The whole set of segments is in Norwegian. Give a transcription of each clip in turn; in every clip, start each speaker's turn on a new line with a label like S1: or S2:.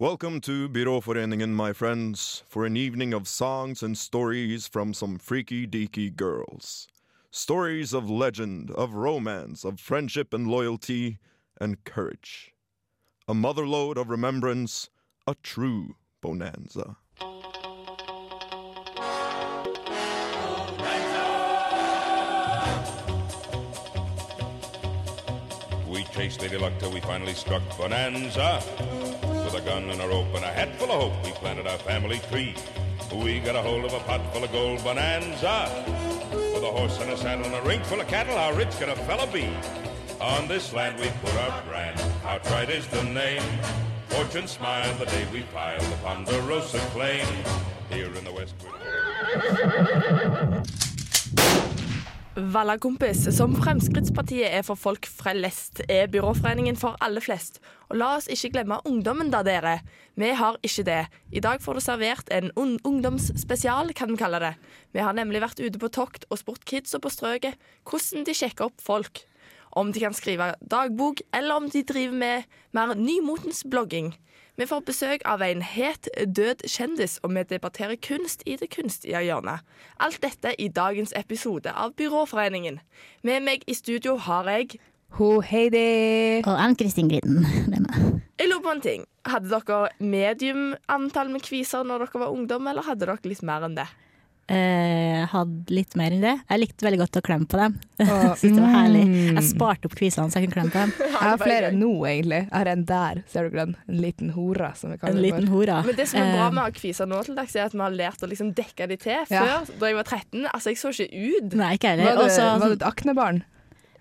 S1: Welcome to Byråforeningen, my friends, for an evening of songs and stories from some freaky deaky girls. Stories of legend, of romance, of friendship and loyalty, and courage. A motherlode of remembrance, a true bonanza.
S2: We chased Lady Luck till we finally struck Bonanza. With a gun and a rope and a hat full of hope, we planted our family tree. We got a hold of a pot full of gold Bonanza. With a horse and a saddle and a ring full of cattle, how rich could a fella be? On this land we put our brand, how trite is the name. Fortune smiled the day we piled the Ponderosa claim. Here in the West.
S3: Valla kompis, som Fremskrittspartiet er for folk frelest, er Byråforeningen for alle flest. Og la oss ikke glemme ungdommen da, dere. Vi har ikke det. I dag får du servert en un ungdomsspesial, kan vi kalle det. Vi har nemlig vært ute på tokt og spurt kidsa på strøket hvordan de sjekker opp folk. Om de kan skrive dagbok, eller om de driver med mer nymotens blogging. Vi får besøk av en het død kjendis, og vi debatterer kunst i det kunstige hjørnet. Alt dette i dagens episode av Byråforeningen. Med meg i studio har jeg
S4: Ho Heidi.
S5: Og Ann-Kristin Gryden. det er meg.
S3: Jeg lurer på en ting. Hadde dere medium antall med kviser når dere var ungdom, eller hadde dere litt mer enn det?
S5: Eh, hadde litt mer enn det. Jeg likte veldig godt å klemme på dem. Synes det var herlig. Jeg sparte opp kvisene så jeg kunne klemme på dem.
S4: mm, Jeg har flere nå, egentlig. Jeg har en der, ser du den? En liten hore, som vi
S5: En
S4: kaller det
S5: liten
S4: for.
S5: hora.
S3: Men det som er
S5: Eh,
S3: bra med å ha kviser nå til dags, er at vi har lært å liksom dekke de til.
S4: Ja.
S3: Før, da jeg var 13, altså jeg så ikke ut.
S5: Nei, ikke
S4: Var
S5: heller.
S4: du,
S5: Og så
S4: var du et aknebarn?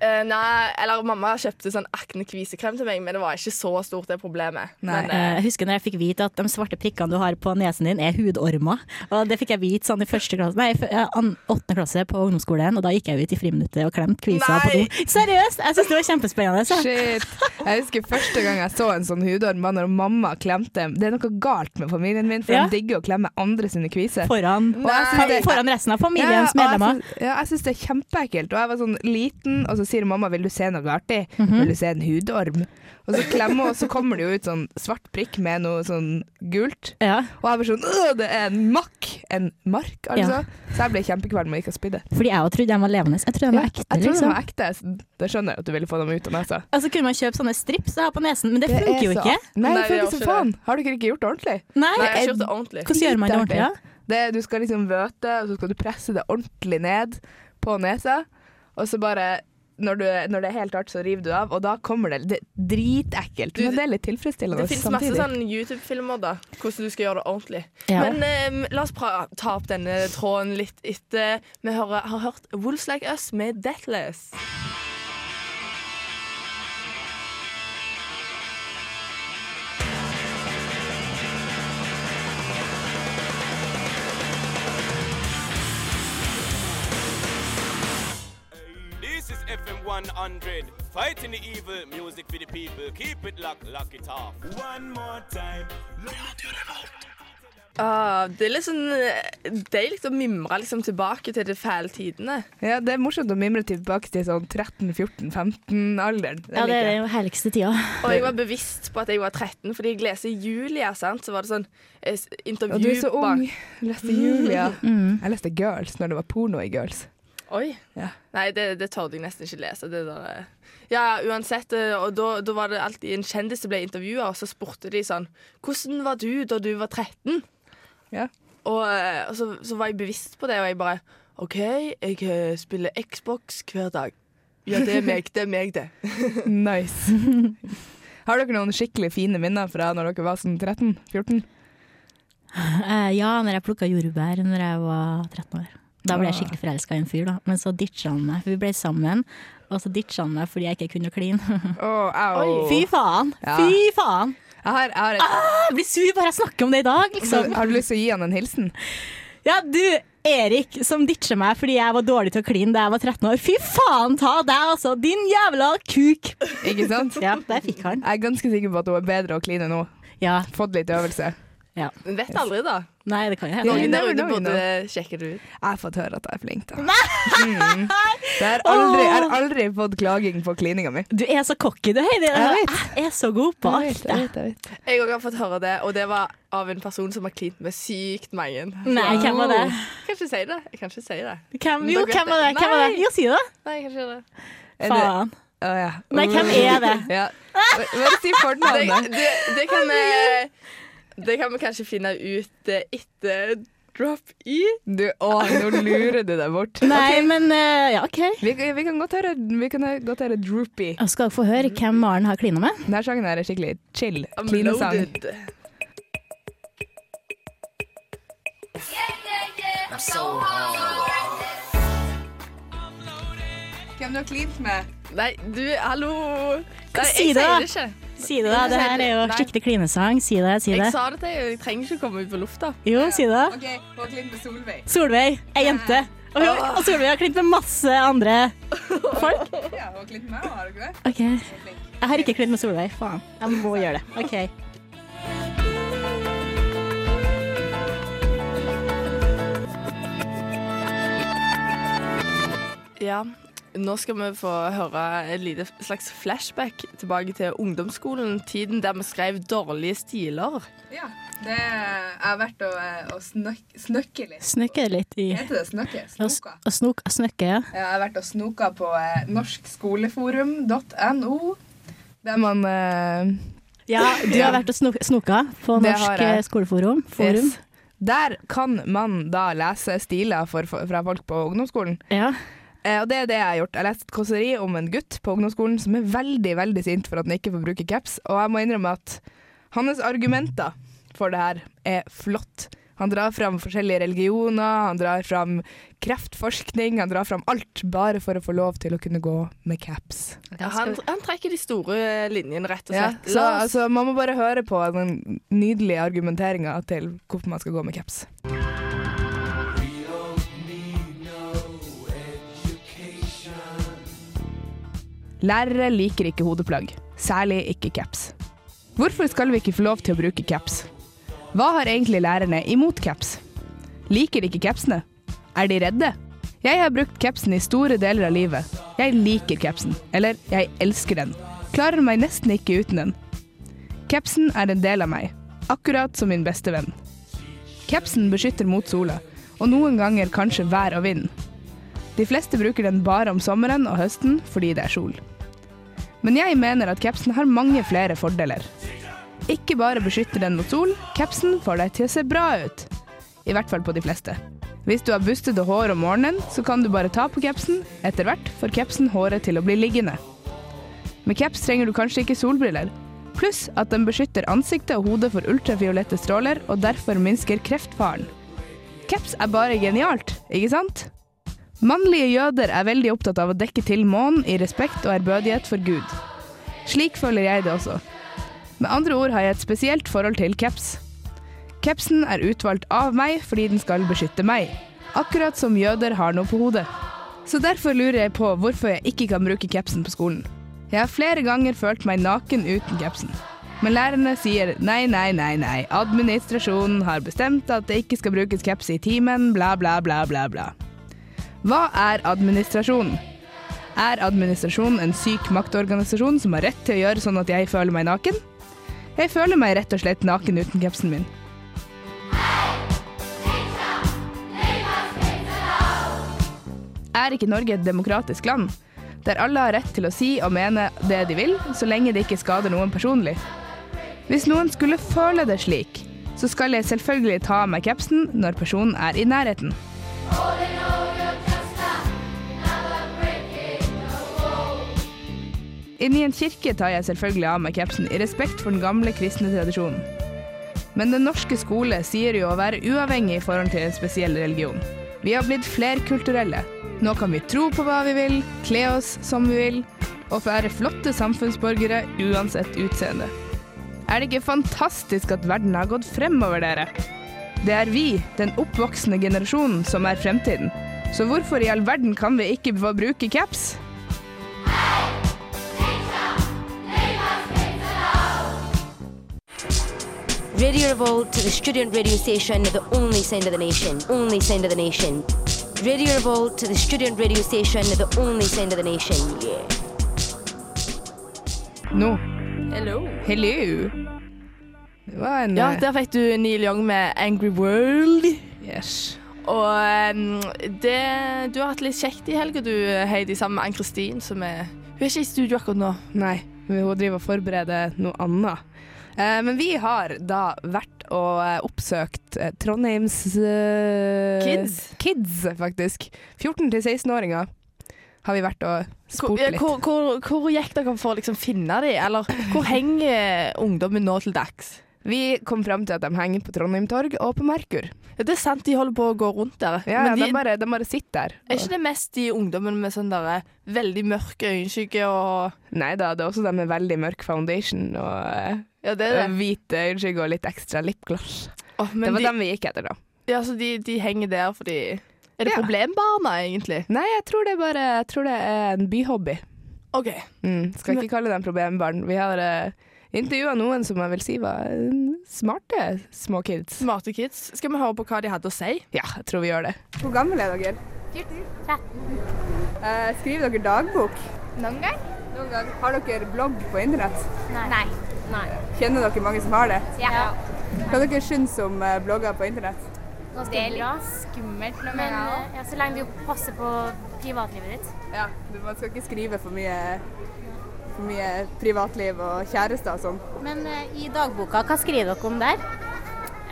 S3: Eh, nei, eller mamma kjøpte sånn akne-kvisekrem til meg, men det var ikke så stort det problemet.
S4: Nei.
S3: Men, eh,
S5: eh, jeg husker når jeg fikk vite at de svarte prikkene du har på nesen din, er hudormer. Og det fikk jeg vite sånn i første klasse Nei, f- eh, an- åttende klasse på ungdomsskolen, og da gikk jeg ut i friminuttet og klemte kvisa på
S3: Nei.
S5: do. Seriøst! Jeg syns det var kjempespennende. Så.
S4: Shit. Jeg husker første gang jeg så en sånn hudorm, var når mamma klemte Det er noe galt med familien min, for
S5: Ja.
S4: de digger å klemme andre sine kviser.
S5: Foran,
S4: Og jeg synes det-
S5: foran resten av
S4: Ja,
S5: familiens
S4: og jeg
S5: medlemmer.
S4: syns- Ja, jeg syns det er kjempeekkelt. Og jeg var sånn liten, og så sier mamma 'vil du se noe artig'?
S5: Mhm.
S4: 'Vil du se en hudorm'? Og så klemmer hun, og så kommer det jo ut sånn svart prikk med noe sånn gult.
S5: Ja.
S4: Og jeg var sånn «Åh, det er en makk! En mark, altså. Så jeg ble kjempekvalm og gikk og spydde.
S5: Fordi jeg også trodde de var levende. Jeg trodde de var ekte.
S4: jeg trodde
S5: liksom.
S4: de var ekte. så Da skjønner jeg at du ville få dem ut av nesa.
S5: Altså kunne man kjøpe sånne strips å ha på nesen, men det funker jo ikke.
S4: Nei,
S3: Nei,
S4: det
S3: vi gjør
S4: funker som
S3: ikke
S4: faen. Har dere ikke gjort det ordentlig?
S5: Nei,
S3: Nei, jeg har
S4: er-
S3: ikke gjort det ordentlig.
S5: Hvordan gjør man det ordentlig?
S4: dritartig.
S5: Ja?
S4: Det, du skal liksom vøte, og så skal du presse det ordentlig ned på nesa. Og så bare når, du, når det er helt hardt, så river du av, og da kommer det, det er Dritekkelt.
S3: Du-
S4: Men det er litt tilfredsstillende
S3: Det finnes masse
S4: samtidig.
S3: sånn YouTube-filmer da hvordan du skal gjøre det ordentlig.
S5: Ja.
S3: Men eh, la oss pra ta opp denne tråden litt etter vi hører, har hørt Wolves Like Us med Deathless.
S6: This is FM 100, fighting the evil, music for the people. Keep it locked, lock it off. One more time.
S3: Ah, det er litt sånn eh, deilig å mimre liksom, tilbake til de fæle tidene.
S4: Ja, det er morsomt å mimre tilbake til sånn 13-14-15-alderen.
S5: ja, det er den herligste tida.
S3: Og jeg var bevisst på at jeg var 13, fordi jeg leser Julia, sant? så var det sånn eh, s- intervju
S4: Og du er så
S3: bak-
S4: ung. Jeg leste Julia.
S5: Mm.
S4: Jeg leste Girls når det var porno i Girls.
S3: Oi.
S4: Ja.
S3: Nei, det, det torde jeg nesten ikke lese. Det der. eh. Ja, uansett. eh, Og da, da var det alltid en kjendis som ble intervjua, og så spurte de sånn Hvordan var du da du var 13?
S4: Ja.
S3: Og, eh, og så, så var jeg bevisst på det, og jeg bare OK, jeg eh, spiller Xbox hver dag. Ja, det er meg, det er meg, det.
S4: Nice. Har dere noen skikkelig fine minner fra når dere var sånn 13-14?
S5: Eh, ja, når jeg plukka jordbær når jeg var 13 år. Da ble jeg skikkelig forelska i en fyr, da. Men så ditcha han meg, for vi ble sammen. Og så ditcha han meg fordi jeg ikke kunne kline.
S4: Oh, au.
S5: Fy Ah, faen!
S4: Ja.
S5: Fy faen!
S4: Jeg har, jeg har, et,
S5: Jeg blir sur bare jeg snakker om det i dag, liksom.
S4: har du lyst til å gi han en hilsen?
S5: Ja, du Erik som ditcher meg fordi jeg var dårlig til å kline da jeg var 13 år. Fy faen ta deg, altså! Din jævla kuk!
S4: Ikke sant?
S5: Ja, der fikk han.
S4: Jeg er ganske sikker på at hun er bedre å kline nå.
S5: Ja,
S4: Fått litt øvelse.
S5: Ja.
S3: Men vet aldri, da.
S5: Nei, det kan jo hende.
S3: Noen der
S4: never
S3: ute
S4: know, you
S3: burde
S4: know.
S3: sjekke det ut.
S4: Jeg har fått høre at jeg er flink, da. Mm. Det er aldri, jeg har aldri fått klaging på klininga mi.
S5: Du er så cocky, du, Heidi.
S4: Jeg
S5: Jeg er så god på
S4: Jeg
S5: alt.
S4: vet, jeg vet, jeg vet.
S3: Jeg òg har fått høre det, og det var av en person som har klint med sykt mange.
S5: Nei, hvem var det?
S3: Jeg kan ikke si det. Jeg kan ikke si det.
S5: Hvem,
S3: Men
S5: jo,
S3: dere vet
S5: hvem var det?
S3: det.
S5: Hvem var det?
S3: Nei.
S5: Jo, si det.
S3: Nei, jeg kan ikke det.
S4: Er det-
S5: Faen.
S4: Å, ja.
S5: Nei, hvem er det?
S4: Ja. Bare si
S3: Det,
S4: fornavnet.
S3: det, det, kan vi, det kan vi kanskje finne ut eh, etter drop i.
S4: Du, å, nå lurer du deg bort.
S5: Nei, men eh, ja, OK.
S4: Vi, kan- vi kan godt høre, vi kan godt høre Droopy.
S5: Jeg skal dere få høre hvem Maren har klina med?
S4: Denne sangen her er skikkelig chill.
S3: I'm
S4: Clean sang.
S3: loaded.
S4: Hvem du har klint med?
S3: Nei, du, hallo. Nei,
S5: si
S3: jeg
S5: det, da?
S3: sier det ikke.
S5: Si det, da. Det her er jo
S3: Nei.
S5: skikkelig klinesang. Si det, si det.
S3: Jeg sa det til deg, jeg trenger ikke å komme ut på lufta.
S5: Jo, si det.
S4: OK, hun har klint med Solveig.
S5: Solveig, ei jente. Og, hun, og Solveig har klint med masse andre folk.
S4: Ja, hun har klint med meg, har du ikke det?
S5: OK. Jeg har ikke klint med Solveig. Faen. Jeg må gjøre det. OK.
S3: Ja, nå skal vi få høre et lite slags flashback tilbake til ungdomsskolen. Tiden der vi skrev dårlige stiler.
S4: Ja. Det jeg har vært og, og snøk, snøkke litt.
S5: Snøkke litt i
S4: Heter det snøkke?
S5: Og s-
S4: Snoka.
S5: og snok, og snøkke, ja.
S4: Jeg har vært og snoka på eh, norskskoleforum.no. Der man eh,
S5: ja. Du har vært og snok, snoka på
S4: Det har
S5: Norsk
S4: jeg.
S5: eh, skoleforum. Forum.
S4: Yes. Der kan man da lese stiler for, for, fra folk på ungdomsskolen.
S5: Ja.
S4: Eh, og det er det jeg har gjort. Jeg leste et kåseri om en gutt på ungdomsskolen som er veldig veldig sint for at han ikke får bruke caps. Og jeg må innrømme at hans argumenter for det her er flott. Han drar fram forskjellige religioner, han drar fram kreftforskning, han drar fram alt bare for å få lov til å kunne gå med caps.
S3: Ja, han, han trekker de store linjene, rett og
S4: Ja,
S3: slett.
S4: så altså, man må bare høre på den nydelige argumenteringa til hvorfor man skal gå med caps. Lærere liker ikke hodeplagg, særlig ikke caps. Hvorfor skal vi ikke få lov til å bruke caps? Hva har egentlig lærerne imot caps? Liker de ikke capsene? Er de redde? Jeg har brukt capsen i store deler av livet. Jeg liker capsen. Eller, jeg elsker den. Klarer meg nesten ikke uten den. Capsen er en del av meg, akkurat som min beste venn. Capsen beskytter mot sola, og noen ganger kanskje vær og vind. De fleste bruker den bare om sommeren og høsten fordi det er sol. Men jeg mener at capsen har mange flere fordeler. Ikke bare beskytter den mot sol, capsen får deg til å se bra ut. I hvert fall på de fleste. Hvis du har bustete hår om morgenen, så kan du bare ta på capsen. Etter hvert får capsen håret til å bli liggende. Med caps trenger du kanskje ikke solbriller. Pluss at den beskytter ansiktet og hodet for ultrafiolette stråler, og derfor minsker kreftfaren. Caps er bare genialt, ikke sant? Mannlige jøder er veldig opptatt av å dekke til månen i respekt og ærbødighet for Gud. Slik føler jeg det også. Med andre ord har jeg et spesielt forhold til caps. Capsen er utvalgt av meg fordi den skal beskytte meg, akkurat som jøder har noe på hodet. Så derfor lurer jeg på hvorfor jeg ikke kan bruke capsen på skolen. Jeg har flere ganger følt meg naken uten capsen. Men lærerne sier nei, nei, nei, nei. Administrasjonen har bestemt at det ikke skal brukes caps i timen, bla, bla, bla, bla, bla. Hva er administrasjon? Er administrasjon en syk maktorganisasjon som har rett til å gjøre sånn at jeg føler meg naken? Jeg føler meg rett og slett naken uten capsen min. Er ikke Norge et demokratisk land, der alle har rett til å si og mene det de vil, så lenge det ikke skader noen personlig? Hvis noen skulle føle det slik, så skal jeg selvfølgelig ta av meg capsen når personen er i nærheten. Inni en kirke tar jeg selvfølgelig av meg capsen i respekt for den gamle kristne tradisjonen. Men den norske skole sier jo å være uavhengig i forhold til en spesiell religion. Vi har blitt flerkulturelle. Nå kan vi tro på hva vi vil, kle oss som vi vil, og være flotte samfunnsborgere uansett utseende. Er det ikke fantastisk at verden har gått fremover, dere? Det er vi, den oppvoksende generasjonen, som er fremtiden. Så hvorfor i all verden kan vi ikke få bruke caps?
S7: Radio Revolt, the student radio station, the only sound of the nation. Only sound of the nation. Radio Revolt, the student radio station, the only sound of the nation. Yeah.
S4: Nå.
S3: Hello.
S4: Hello. Det var en
S3: Ja,
S4: eh,
S3: der fikk du Neil Young med 'Angry World'.
S4: yes.
S3: Og em, det, du har hatt litt kjekt i helga, du Heidi, sammen med Ann-Kristin, som er Hun er ikke i studio akkurat nå.
S4: Nei, men hun driver og forbereder noe annet. Eh, men vi har da vært og eh, oppsøkt eh, Trondheims eh,
S3: Kids.
S4: Kids, faktisk. 14- til 16-åringer har vi vært og
S3: Hvor,
S4: spurt
S3: ja,
S4: litt.
S3: hvor, hvor, hvor gikk dere for å liksom finne dem, eller hvor henger ungdommen nå til dags?
S4: Vi kom fram til at de henger på Trondheim Torg og på Merkur.
S3: Ja, det er sant, de holder på å gå rundt der.
S4: Ja,
S3: Men
S4: de,
S3: de,
S4: bare, de bare sitter der.
S3: er ikke det mest de ungdommene med sånn derre veldig mørk øyenskygge og
S4: Nei da, det er også de med veldig mørk foundation og eh,
S3: Ja, det er det.
S4: hvit øyenskygge og litt ekstra lipgloss.
S3: Åh,
S4: Det
S3: men
S4: var
S3: de,
S4: dem vi gikk etter, da.
S3: ja, så de, de henger der fordi Er det
S4: Ja.
S3: problembarna, egentlig?
S4: Nei, jeg tror det, er bare, jeg tror det er en byhobby.
S3: OK.
S4: Mm, skal ikke kalle dem problembarn. Vi har uh, intervjua noen som jeg vil si var eh, smarte små kids.
S3: Smarte kids. Skal vi høre på hva de hadde å si?
S4: Ja, jeg tror vi gjør det.
S8: Hvor gammel er dere? 14. 13. skriver dere dagbok?
S9: Noen gang?
S8: Noen gang. Har dere blogg på internett?
S9: Nei.
S8: Kjenner dere mange som har det?
S9: Ja.
S8: Hva dere syns om eh, blogger på internett?
S9: Det er litt skummelt noen men, ganger. Ja, så lenge du passer på privatlivet ditt.
S8: Ja, du- Man skal ikke skrive for mye, for mye privatliv og kjærester og sånn.
S9: Men eh, i dagboka, hva skriver dere om der?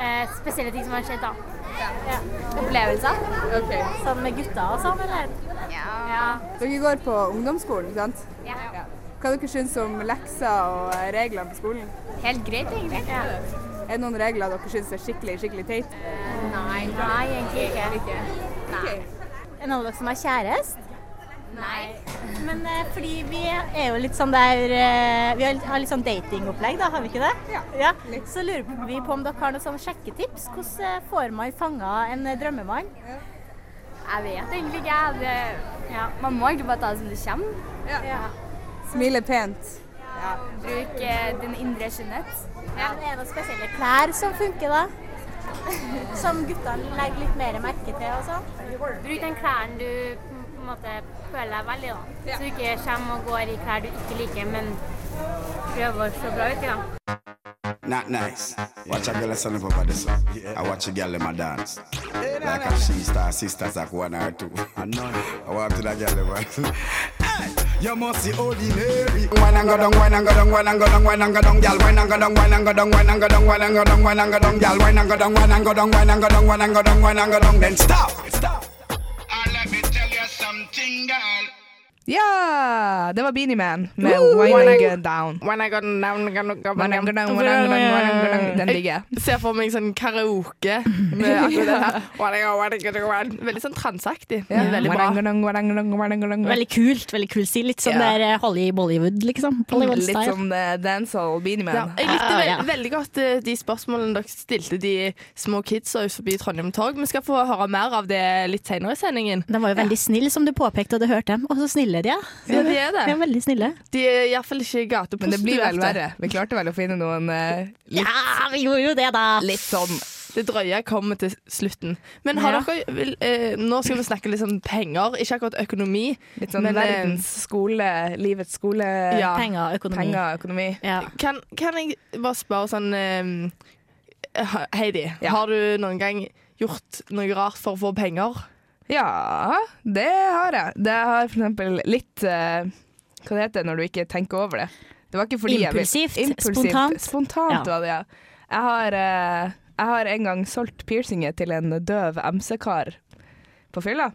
S9: Eh, spesielle ting som har skjedd, da. Ja. Opplevelser?
S8: Ok.
S9: Sånn med gutta og sånn, eller? Ja.
S8: Dere går på ungdomsskolen, ikke sant?
S9: ja.
S8: Hva dere syns om lekser og eh, reglene på skolen?
S9: Helt greit, egentlig.
S8: Er det noen regler dere syns er skikkelig, skikkelig teit?
S9: Nei. Nei, egentlig ikke. Nei. Er det noen av dere som har kjærest? Nei. Men eh, fordi vi er jo litt sånn der eh, Vi har litt- har litt sånn datingopplegg, da, har vi ikke det?
S8: Ja.
S9: Så lurer vi på om dere har noen sånn sjekketips. Hvordan eh, får man fanga en eh, drømmemann? Jeg vet egentlig ikke. Man må egentlig bare ta det som det kommer.
S8: Ja. Smile pent.
S9: Bruk
S10: eh,
S9: den indre skjønnhet. Ja. Er det noen spesielle klær som funker, da? Som guttene legger litt mer merke til og sånn?
S10: Bruk den klærne du på en måte føler deg veldig, da.
S8: Ja.
S10: Så du ikke kommer og går i klær du ikke liker, men prøver å se bra ut, ja.
S11: Not nice. Watch a girl son of a body so. I watch a girl in my dance. Like a she star sisters like one or two. I know. I walk to that girl over. You must see ordinary. Wine and go down, wine and go down, wine and go down, wine and go down, girl. Wine and go down, wine and go down, wine and go down, wine and go down, wine and go down, girl. Wine and go down, wine and go down, wine and go down, wine and go down, wine and go down. Then stop. Stop. let me tell you something, girl.
S4: Ja! Det var Beanie Man med When I Get Down. When I Get Down, when I Get Down, when I Get Down. Den digger jeg.
S3: Ser for meg sånn karaoke med akkurat den her. Veldig sånn transaktig.
S4: Ja.
S3: men Veldig
S4: When
S3: bra.
S4: I Get Down, when I Get Down, when I Get Down.
S5: Veldig kult. veldig kult stil. Litt sånn
S4: Ja.
S5: der eh, Holly Bollywood, liksom.
S4: Litt
S5: Bollywood-style.
S4: sånn eh, dancehall Beanie
S3: Ja,
S4: Man.
S3: jeg likte
S5: Ah,
S3: ve
S5: ja.
S3: veldig godt eh, de spørsmålene dere stilte de små kidsa ut forbi Trondheim Torg. Vi skal få høre mer av det litt senere i sendingen.
S5: De var jo veldig snille, som du påpekte, og det hørte dem. Og så snille de er.
S3: Ja, de er det.
S5: De er veldig snille.
S3: De er iallfall ikke gateprostituerte.
S4: Men det blir vel verre. Vi klarte vel å finne noen eh, litt,
S5: Ja, vi gjorde jo det, da!
S4: litt sånn
S3: Det drøye kommer til slutten. Men har
S5: Ja.
S3: dere, vil, eh, nå skal vi snakke litt om penger, ikke akkurat økonomi.
S4: Litt sånn
S3: Men, eh,
S4: verdens skole, livets skole,
S3: Ja.
S5: Penger og økonomi.
S4: penger, økonomi.
S5: Ja.
S3: Kan, kan jeg bare spørre sånn eh, Heidi,
S4: Ja.
S3: har du noen gang gjort noe rart for å få penger?
S4: Ja, det har jeg. Det har for eksempel litt eh, Hva det heter det når du ikke tenker over det? Det var ikke fordi
S5: Impulsivt,
S4: jeg vil-
S5: spontant.
S4: Spontant
S5: Ja.
S4: var det, ja. Jeg har, eh, jeg har en gang solgt piercinger til en døv MC-kar på fylla.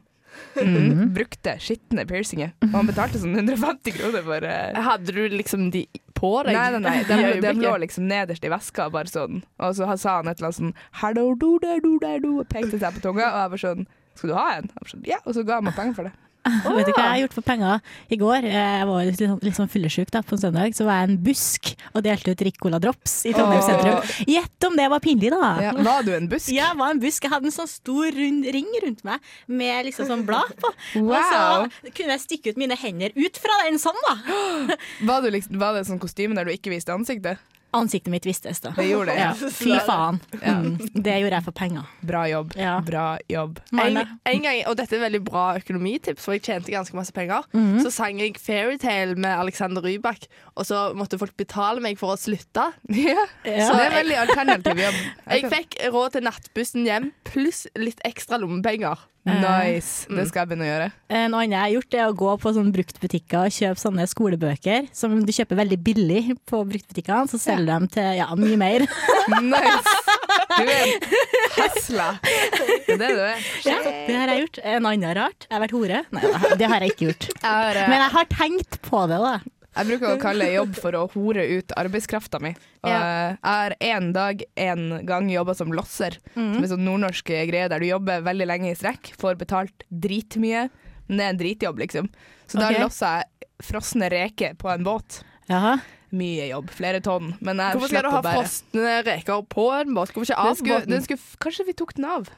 S5: Mm-hmm.
S4: Mm. Brukte skitne piercinger. Og han betalte sånn 150 kroner for eh,
S3: Hadde du liksom de på deg?
S4: Nei, nei, nei.
S3: i
S4: De, de
S3: øyeblikket?
S4: lå liksom nederst i veska, bare sånn. Og så han- sa han et eller annet sånn Hello, do, do, do, do, do, og pekte seg på tunga, og jeg bare sånn Skal du ha en? Jeg bare sånn, ja. Og så ga han meg penger for det.
S5: Vet du hva jeg har gjort for penger? I går, eh, jeg var jo litt, sånn- litt sånn fyllesyk da, på en søndag, så var jeg en busk og delte ut Ricola Drops i Trondheim
S4: Åh.
S5: sentrum. Gjett om det var pinlig, da!
S4: Ja. Var du en busk?
S5: Ja, jeg var en busk. Jeg hadde en sånn stor rund ring rundt meg med liksom sånn blad på. Og
S4: Wow.
S5: så kunne jeg stikke ut mine hender ut fra den sånn, da.
S4: Var, du liksom, var det sånn kostyme der du ikke viste ansiktet?
S5: Ansiktet mitt vistes, da.
S4: Det gjorde det, ja.
S5: Fy faen.
S4: Ja.
S5: Mm. Det gjorde jeg for penger.
S4: Bra jobb. Bra jobb.
S3: En,
S5: Marne?
S3: en gang, og dette er veldig bra økonomitips, for jeg tjente ganske masse penger.
S5: Mhm.
S3: Så sang jeg Fairytale med Alexander Rybak, og så måtte folk betale meg for å slutte.
S4: Ah, Så det er veldig alternativ jobb.
S3: Jeg fikk råd til nattbussen hjem, pluss litt ekstra lommepenger. Mm.
S4: Nice. Det skal jeg begynne å gjøre.
S5: Eh, Noe annet jeg har gjort, er å gå på sånne bruktbutikker og kjøpe sånne skolebøker som du kjøper veldig billig på bruktbutikkene, så selger de til ja, mye mer.
S4: Nice. Du er hasla. Det er det du er.
S5: ja, det har jeg gjort. En annen rart. Jeg har vært hore. Nei, det har jeg ikke gjort.
S4: eh,
S5: Men jeg har tenkt på det, da.
S4: Jeg bruker å kalle jobb for å hore ut arbeidskrafta mi. Og
S5: Ja.
S4: eh, jeg har en dag en gang jobba som losser,
S3: Mm.
S4: som er sånn nordnorsk greie der du jobber veldig lenge i strekk, får betalt dritmye, men det er en dritjobb, liksom. Så
S5: Ok.
S4: da lossa jeg frosne reker på en båt.
S5: Jaha.
S4: Mye jobb, flere tonn. Men jeg
S3: Hvorfor skal du
S4: slapp
S3: ha
S4: å bære.
S3: frosne reker på en båt? Hvorfor ikke
S4: Den
S3: av
S4: skulle, den
S3: båten?
S4: skulle, f- kanskje vi tok den av?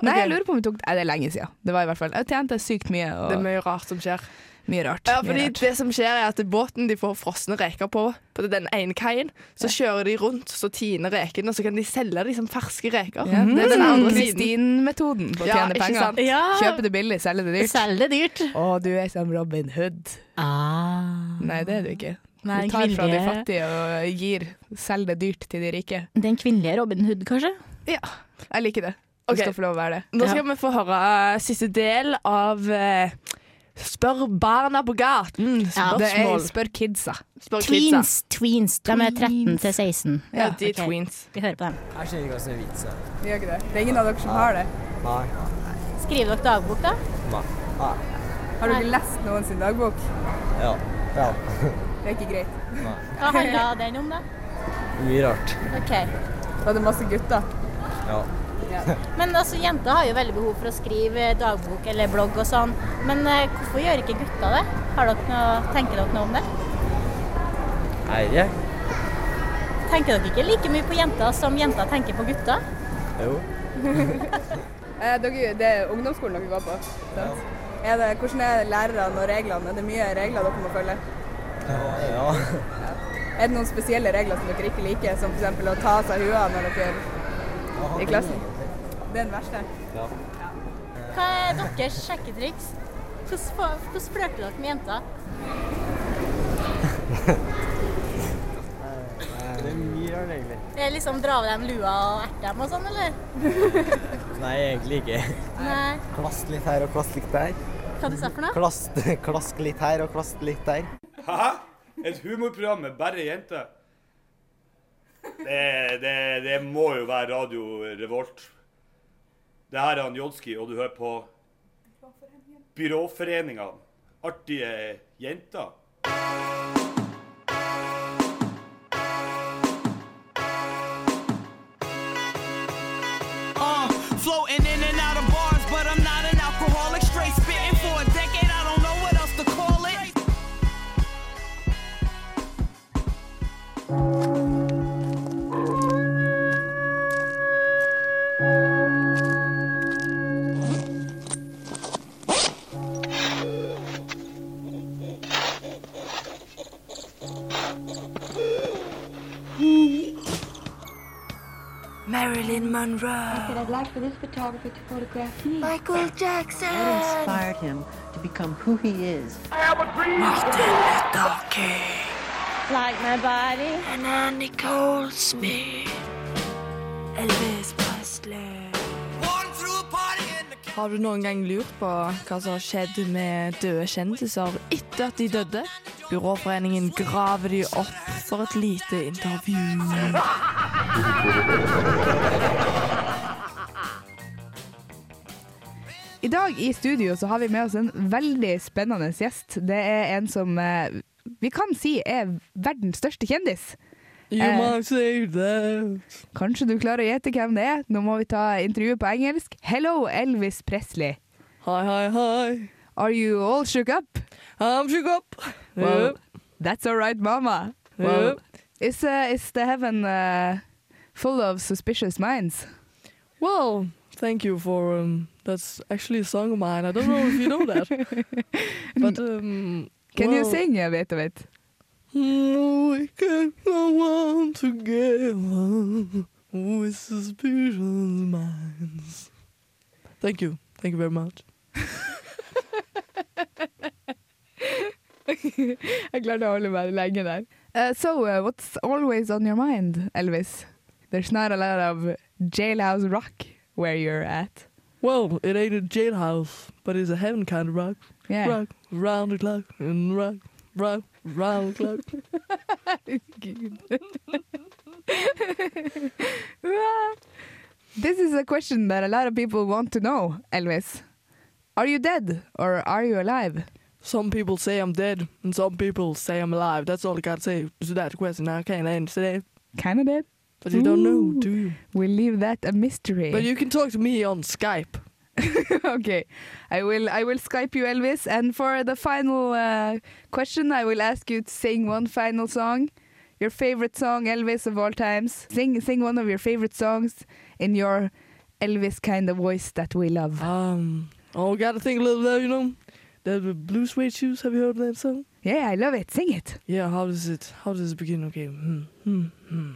S4: Nei, jeg lurer på om vi tok den Nei, det er lenge siden. Det var i hvert fall Jeg tjente sykt mye, og
S3: Det er mye rart som skjer.
S4: mye rart.
S3: Ja,
S4: mye
S3: fordi
S4: rart.
S3: det som skjer er at båten de får frosne reker på, på den ene kaien, så kjører de rundt, så tiner rekene, og så kan de selge de som ferske reker.
S4: Ja, det er den andre
S3: sånn siden.
S4: Kristin-metoden på å
S3: Ja,
S4: tjene
S3: ikke
S4: penger.
S3: sant?
S5: Ja.
S4: Kjøpe det billig, selge det dyrt.
S5: Selger det dyrt.
S4: Å, du er som Robin Hood.
S5: Ah.
S4: Nei, det er du ikke. Du
S5: Nei,
S4: tar fra de
S5: kvinnelige-
S4: fattige og gir. Selg det dyrt til de rike.
S5: Den kvinnelige Robin Hood, kanskje?
S4: Ja, jeg liker det. Du
S3: Ok.
S4: skal få lov å være det.
S3: Nå skal vi få høre eh, siste del av eh, Spør barna på gaten. Spørsmål.
S4: Det er Spør kidsa.
S3: Spør kidsa.
S5: Tweens. Tweens. De er 13 til 16.
S3: Ja, de er
S5: ok.
S3: tweens.
S5: Vi hører på dem.
S12: Jeg skjønner ikke hva som er vitsen.
S8: Vi gjør ikke det. Det er ingen av dere som har det.
S12: Nei.
S9: Skriver dere dagbok, da?
S12: Nei. Nei.
S8: Har dere lest noen sin dagbok?
S12: Ja. Ja.
S8: Det er ikke greit.
S12: Nei.
S9: Hva handla den om, da?
S12: Mye rart.
S9: Ok.
S8: Da er det masse gutter.
S12: Ja.
S9: Men altså, jenter har jo veldig behov for å skrive dagbok eller blogg og sånn. Men eh, hvorfor gjør ikke gutta det? Har dere noe, tenker dere noe om det?
S12: Er jeg?
S9: Tenker dere ikke like mye på jenter som jenter tenker på gutter?
S12: Jo.
S8: Eh, dere, det er ungdomsskolen dere går på. sant? Er det, hvordan er lærerne og reglene? Er det mye regler dere må følge?
S12: Ja.
S8: Er det noen spesielle regler som dere ikke liker, som f.eks. å ta av seg hua når dere i klassen? Det er den verste.
S12: Ja.
S9: Hva er deres sjekketriks? Hvordan fa- hvordan flørter dere med jenter?
S12: Det er mye rart, egentlig.
S9: Er det liksom dra av dem lua og erte dem og sånn, eller?
S12: Nei, egentlig ikke.
S9: Nei.
S12: Klask litt her og klask litt der.
S9: Hva du sa for noe?
S12: Klask, klask litt her og klask litt der.
S13: Haha, et humorprogram med bare jenter. Det, det, det må jo være Radio Revolt. Det her er han Jodski, og du hører på Byråforeninga. Artige jenter.
S14: Uh, floating in and out of bars, but I'm not an alcoholic. Straight spitting for a decade, I don't know what else to call it.
S3: Marilyn Monroe.
S15: I'd like for this photographer to photograph me.
S14: Michael Jackson. What inspired
S15: him to become who he is?
S14: I have a dream. Martin Luther King.
S9: Like my body.
S14: Anna Nicole Smith. Elvis Presley.
S3: Har du noen gang lurt på hva som har skjedd med døde kjendiser etter at de døde? Byråforeningen graver de opp for et lite intervju.
S4: I dag i studio så har vi med oss en veldig spennende gjest. Det er en som eh, vi kan si er verdens største kjendis.
S16: You
S4: Eh,
S16: might say that.
S4: Kanskje du klarer å gjette hvem det er. Nå må vi ta intervjuet på engelsk. Hello, Elvis Presley. Hi, hi, hi. Are you all shook up? I'm shook up. Well, that's all right, mama.
S16: Well-
S4: is, uh, is the heaven uh, full of suspicious minds?
S16: Well, thank you for um that's actually a song of mine. I don't know if you know that. but um
S4: Can you
S16: well,
S4: sing a bit of it?
S3: We can go on together with suspicious minds. Thank you. Thank you very much.
S4: Jeg klarte å holde meg lenge der. Uh, so, uh, what's always on your mind, Elvis? There's not a lot of jailhouse rock where you're at.
S3: Well, it ain't a jailhouse, but it's a heaven kind of rock.
S4: Yeah.
S3: Rock round the clock and rock, rock round the clock.
S4: This is a question that a lot of people want to know, Elvis. Are you dead or are you alive?
S3: Some people say I'm dead, and some people say I'm alive. That's all I gotta say to that question. I can't answer that.
S4: Kind of dead?
S3: But you don't know,
S4: Ooh.
S3: do you?
S4: We'll leave that a mystery.
S3: But you can talk to me on Skype.
S4: okay, I will. I will Skype you, Elvis. And for the final uh, question, I will ask you to sing one final song, your favorite song, Elvis of all times. Sing, sing one of your favorite songs in your Elvis kind of voice that we love.
S3: Um. Oh, gotta think a little though, you know? The the Blue Suede Shoes, have you heard that song?
S4: Yeah, I love it. Sing it.
S3: Yeah, how does it, how does it begin? Okay, hmm, hmm, hmm.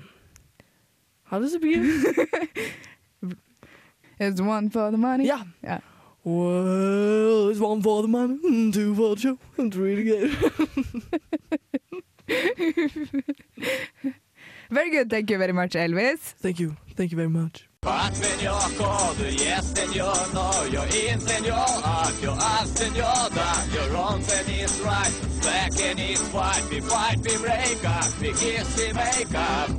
S3: How does it begin?
S4: It's one for the money.
S3: Yeah.
S4: Yeah.
S3: well, it's one for the money, and two for the show, and three to get.
S4: Very good. Thank you very much, Elvis.
S3: Thank you. Thank you very much.
S17: At senor call, yes senor, no you're in senor, up you're up senor, down you're wrong and it's right, black and it's white, we fight, we break up, we kiss, we make up.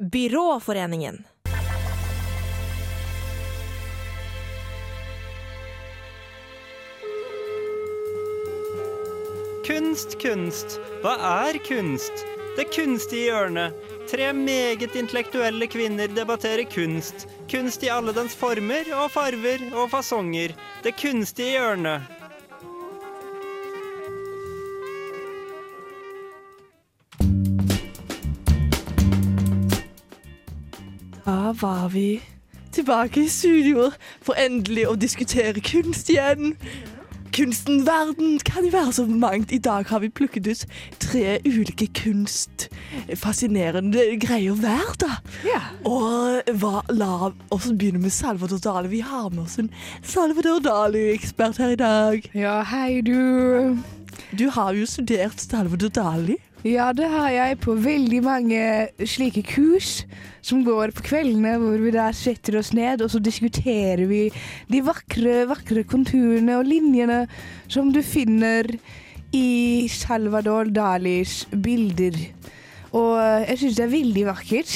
S18: Byråforeningen.
S6: Kunst, kunst. Hva er kunst? Det kunstige hjørnet. Tre meget intellektuelle kvinner debatterer kunst. Kunst i alle dens former og farver og fasonger. Det kunstige hjørnet.
S3: Da var vi tilbake i studioet for endelig å diskutere kunst igjen. Kunsten verden kan jo være så mangt. I dag har vi plukket ut tre ulike kunstfascinerende greier hver, da. Og hva, la oss begynne med Salvador Dali. Vi har med oss en Salvador Dali-ekspert her i dag.
S4: Ja, hei du.
S3: Du har jo studert Salvador Dali.
S4: Ja, det har jeg på veldig mange slike kurs som går på kveldene, hvor vi da setter oss ned, og så diskuterer vi de vakre, vakre konturene og linjene som du finner i Salvador Dalis bilder. Og eh, jeg syns det er veldig vakkert.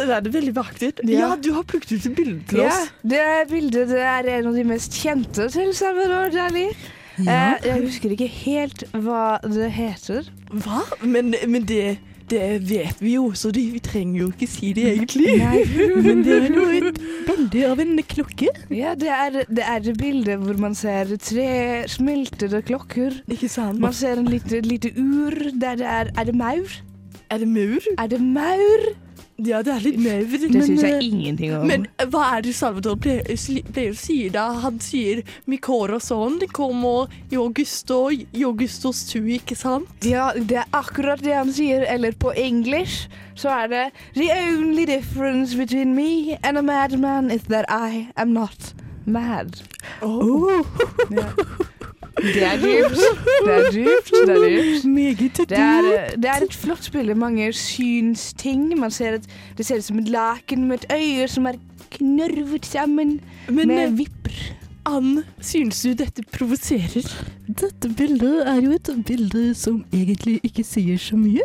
S3: Det er det veldig vakkert. Ja,
S4: Ja.
S3: du har plukket ut et bilde til oss.
S4: Ja, det bildet det er en av de mest kjente til Salvador Dali.
S3: Ja.
S4: Eh, Jeg husker ikke helt hva det heter.
S3: Hva? Men, men det, det vet vi jo, så det, vi trenger jo ikke si det egentlig.
S4: Nei.
S3: men det er jo et bilde av en klokke.
S4: Ja, det er, det er det bildet hvor man ser tre smeltede klokker.
S3: Ikke sant?
S4: Man ser en lite, et lite ur der det er Er det maur?
S3: Er det maur?
S4: Er det maur? eh,
S3: Ja, det er litt maur. eh,
S4: Det syns jeg ingenting om.
S3: Men eh, hva er det Salvador pleier sli- pleier å si da? Han sier Mikora sånn, det kommer i august og i augustos tu, ikke sant?
S4: Ja, det er akkurat det han sier. Eller på engelsk så er det The only difference between me and a madman is that I am not mad.
S3: Oh.
S4: Ja. Det er dypt. Det er dypt. Det er dypt.
S3: Meget
S4: Det er, det er et flott bilde. Mange synsting. Man ser et, det ser ut som et laken med et øye som er knørvet sammen
S3: Men, eh,
S4: med vipper.
S3: Ann, synes du dette provoserer?
S5: Dette bildet er jo et bilde som egentlig ikke sier så mye.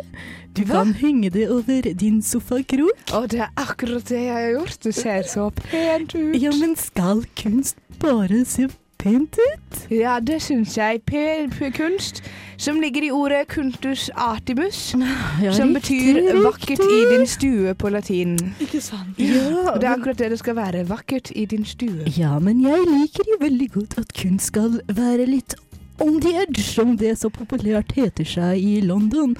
S5: Du kan henge det over din sofakrok.
S4: Å, det er akkurat det jeg har gjort. Det ser så pent ut.
S5: Ja, men skal kunst bare se pent ut?
S4: Ja, det syns jeg. Per, per kunst, som ligger i ordet kuntus artibus,
S5: Ja,
S4: som
S5: riktig,
S4: betyr vakkert i
S5: riktig.
S4: din stue på latin.
S3: Ikke sant?
S5: Ja,
S4: Og det er
S5: men-
S4: akkurat det det skal være. Vakkert i din stue.
S5: Ja, men jeg liker jo veldig godt at kunst skal være litt on the edge, som det så populært heter seg i London.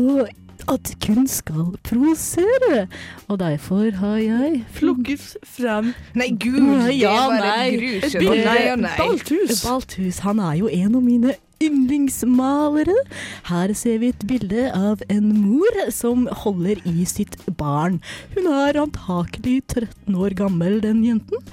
S5: Og at kunst skal provosere. Og derfor har jeg
S3: Plukket frem
S4: Nei, gud,
S5: Nei, ja,
S4: det var
S5: nei.
S4: et grusomt
S5: Et bilde.
S4: Nei og nei.
S5: Balthus. Han er jo en av mine yndlingsmalere. Her ser vi et bilde av en mor som holder i sitt barn. Hun er antakelig 13 år gammel, den jenten.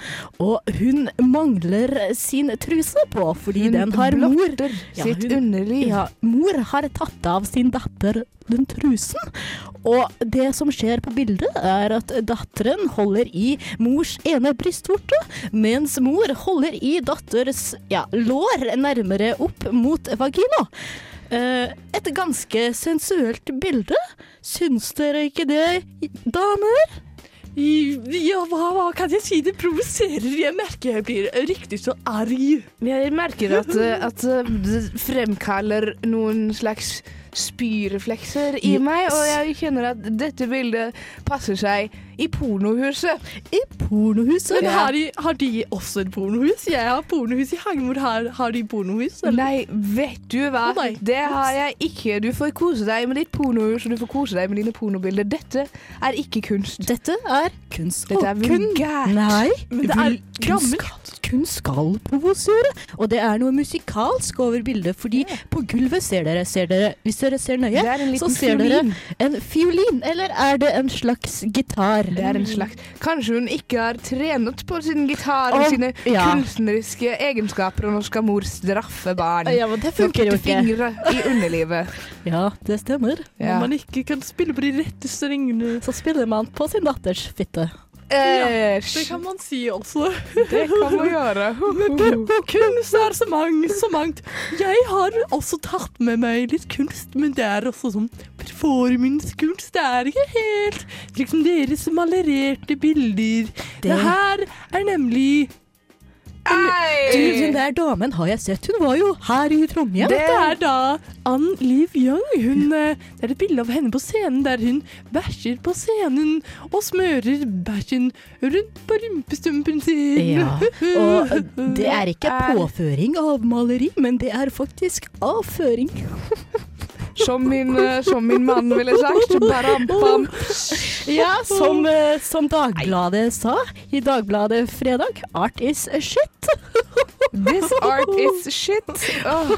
S5: Og hun mangler sin truse på, fordi
S4: Hun
S5: den har mor.
S4: blotter sitt underliv.
S5: Ja, mor har tatt av sin datter den trusen. Og det som skjer på bildet, er at datteren holder i mors ene brystvorte, mens mor holder i datters ja, lår nærmere opp mot vagina. Eh, Et ganske sensuelt bilde. Syns dere ikke det, damer?
S3: Ja, hva, hva kan jeg si? Det provoserer. Jeg merker jeg blir riktig så arg.
S4: Jeg merker at, eh, at eh, det fremkaller noen slags spyreflekser i meg, og jeg kjenner at dette bildet passer seg i pornohuset.
S5: I pornohuset?
S3: Men har de, har de også et pornohus? Jeg har pornohus i Hagmor. Har, har de pornohus? eller?
S4: Nei, vet du hva?
S3: Å, nei.
S4: det har jeg ikke. Du får kose deg med ditt pornohus, og du får kose deg med dine pornobilder. Dette er ikke kunst.
S5: Dette er kunst.
S4: Dette er
S5: Og kun-
S4: vulgært.
S5: Nei,
S4: Men det er
S5: vul- kunst skal- Kunst skal provosere, og det er noe musikalsk over bildet, fordi på gulvet ser dere, ser dere, hvis dere ser nøye,
S4: er en
S5: så
S4: liten
S5: ser
S4: fiolin.
S5: dere en fiolin, eller er det en slags gitar?
S4: Det er en slags Kanskje hun ikke har trenet på sin gitar og
S5: Om-
S4: sine
S5: ja.
S4: kunstneriske egenskaper, og nå skal mor straffe barn.
S5: Mm. Ja, men det funker jo
S4: Med
S5: ikke.
S4: fingre i underlivet.
S5: Ja, det stemmer.
S4: Ja.
S5: man ikke kan spille på de rette strengene. Så spiller man på sin datters fitte.
S3: Ja, det kan man si også.
S4: Eh, Det kan man gjøre.
S3: Men på- på kunst er så mangt, så mangt. Jeg har også tatt med meg litt kunst, men det er også sånn performancekunst. Det er ikke helt liksom deres malererte bilder. Det, her er nemlig
S5: Du, den der damen har jeg sett. Hun var jo her i Trondheim.
S3: Dette er da Ann Liv Young. Hun, eh, det er et bilde av henne på scenen der hun bæsjer på scenen og smører bæsjen rundt på rumpestumpen sin.
S5: Ja, og det er ikke påføring av maleri, men det er faktisk avføring.
S4: Som min, eh, som min mann ville sagt. Barampam.
S5: Ja, som, eh, som Dagbladet sa i Dagbladet fredag, art is a shit.
S4: This art is shit. Åh.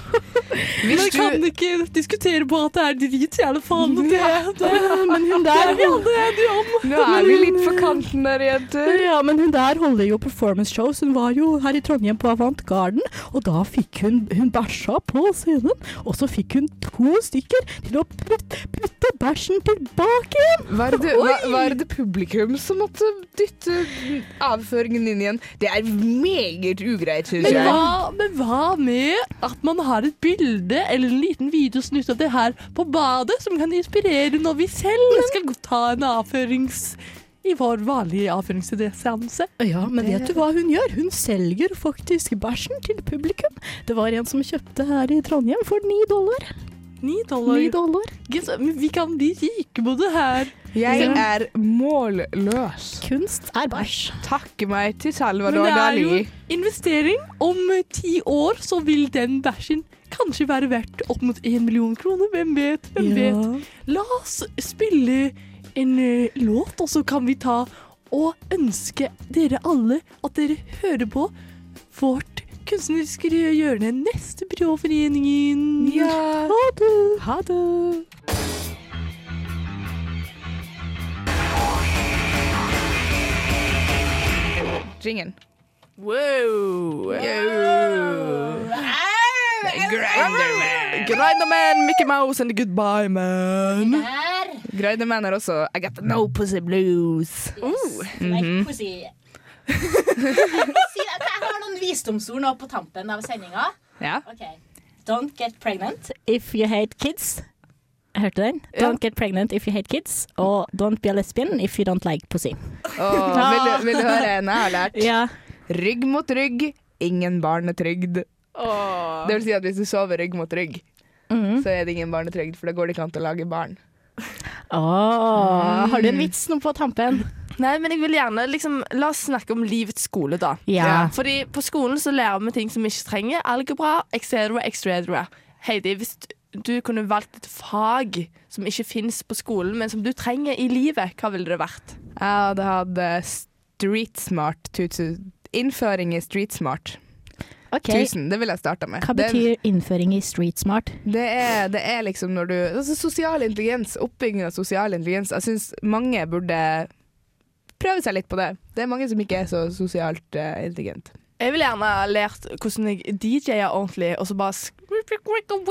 S3: Men
S4: Hvis
S3: jeg kan
S4: du
S3: ikke diskutere på at det er drit, i alle fall. Det, det,
S5: Men hun
S3: det er vi
S5: der
S3: alle enige om.
S4: Nå er vi litt på kanten der, jenter.
S5: Ja, men hun der holder jo performance shows. Hun var jo her i Trondheim på Avant Garden, og da fikk hun Hun bæsja på scenen, og så fikk hun to stykker til å putte, putte bæsjen tilbake igjen.
S4: Var det, var,
S5: Oi!
S4: var det publikum som måtte dytte avføringen inn igjen? Det er meget ugreit, syns
S3: Men
S4: jeg.
S3: hva, men hva med at man har et bilde eller en liten videosnutt av det her på badet, som kan inspirere når vi selv skal gå- ta en avførings... I vår vanlige avføringsseanse.
S5: Ja, men vet du hva hun gjør? Hun selger faktisk bæsjen til publikum. Det var en som kjøpte her i Trondheim for ni dollar.
S3: Ni dollar.
S5: Ni dollar.
S3: Yes, men vi kan bli rike på det her.
S4: Jeg
S3: Ja.
S4: er målløs.
S5: Kunst er bæsj.
S4: Takke meg til
S3: Men
S4: Salvador
S3: det er jo
S4: Dali.
S3: investering. Om eh, ti år så vil den bæsjen kanskje være verdt opp mot én million kroner. Hvem vet? Hvem
S5: Ja.
S3: vet? La oss spille en eh, låt, og så kan vi ta og ønske dere alle at dere hører på vårt kunstneriske hjørne neste Byråforeningen.
S4: Ja.
S3: Ha det!
S4: Ha det. Jingen.
S19: Wow!
S4: Grinderman. Grinderman, Mickey Mouse and the Goodbye Man. Grinderman er også I got the no pussy blues. Mhm.
S20: pussy. jeg har noen visdomsord nå på tampen av sendinga.
S4: Ja.
S20: Don't get pregnant if you hate kids. Hørte du den? Don't get pregnant if you hate kids. Og don't be a lesbian if you don't like pussy.
S4: Åh, vil, du- vil du høre en jeg har lært?
S20: Ja.
S4: Rygg mot rygg, ingen barnetrygd. Det vil si at hvis du sover rygg mot rygg, så er det ingen barnetrygd, for da går det ikke an til å lage barn.
S5: Ah,
S20: Åh, har du en vits nå på tampen?
S19: Nei, men jeg vil gjerne liksom, La oss snakke om livets skole, da.
S20: Ja.
S19: Fordi på skolen så lærer vi ting som vi ikke trenger. Algebra, etc., etc. Heidi, hvis du kunne valgt et fag som ikke fins på skolen, men som du trenger i livet, hva ville det vært?
S4: Jeg hadde hatt eh, street smart, tutu- innføring i street smart.
S5: Ok.
S4: Tusen, det vil jeg starte med.
S5: Hva
S4: Det-
S5: betyr innføring i street smart?
S4: Det er, det er liksom når du altså Sosial intelligens, oppbygging av sosial intelligens. Jeg syns mange burde prøve seg litt på det. Det er mange som ikke er så sosialt uh, intelligent.
S3: Jeg ville gjerne ha lært hvordan jeg DJ-er ordentlig, og så bare
S4: Ja, det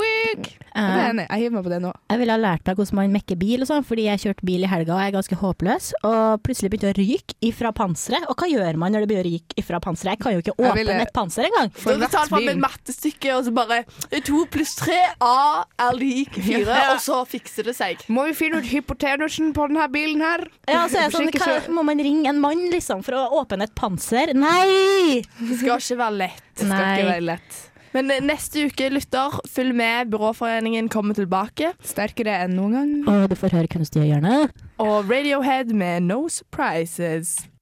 S4: er jeg enig i. Jeg hiver meg på det nå.
S5: Eh, Jeg ville ha lært meg hvordan man mekker bil og sånn, fordi jeg kjørte bil i helga og jeg er ganske håpløs. Og plutselig begynte å ryke ifra panseret. Og hva gjør man når det begynner å ryke ifra panseret? Jeg kan jo ikke
S3: Jeg
S5: åpne
S3: ville-
S5: et panser engang.
S3: Da hadde jeg talt fram et mattestykke, og så bare To pluss tre, A er lik fire,
S4: Ja.
S3: og så fikser det seg.
S4: Må vi finne ut hypotenusen på denne bilen her?
S5: Ja, så er jeg sånn,
S4: Sjekke
S5: hva,
S4: så-
S5: Må man ringe en mann liksom for å åpne et panser? Nei!
S3: Det skal ikke være lett.
S5: Det skal ikke Nei. være
S4: lett.
S3: Men eh, neste uke, lytter, følg med. Byråforeningen kommer tilbake.
S4: Sterkere enn noen gang.
S5: Og du får høre kunstige hjørnet.
S3: Og Radiohead med No Surprises.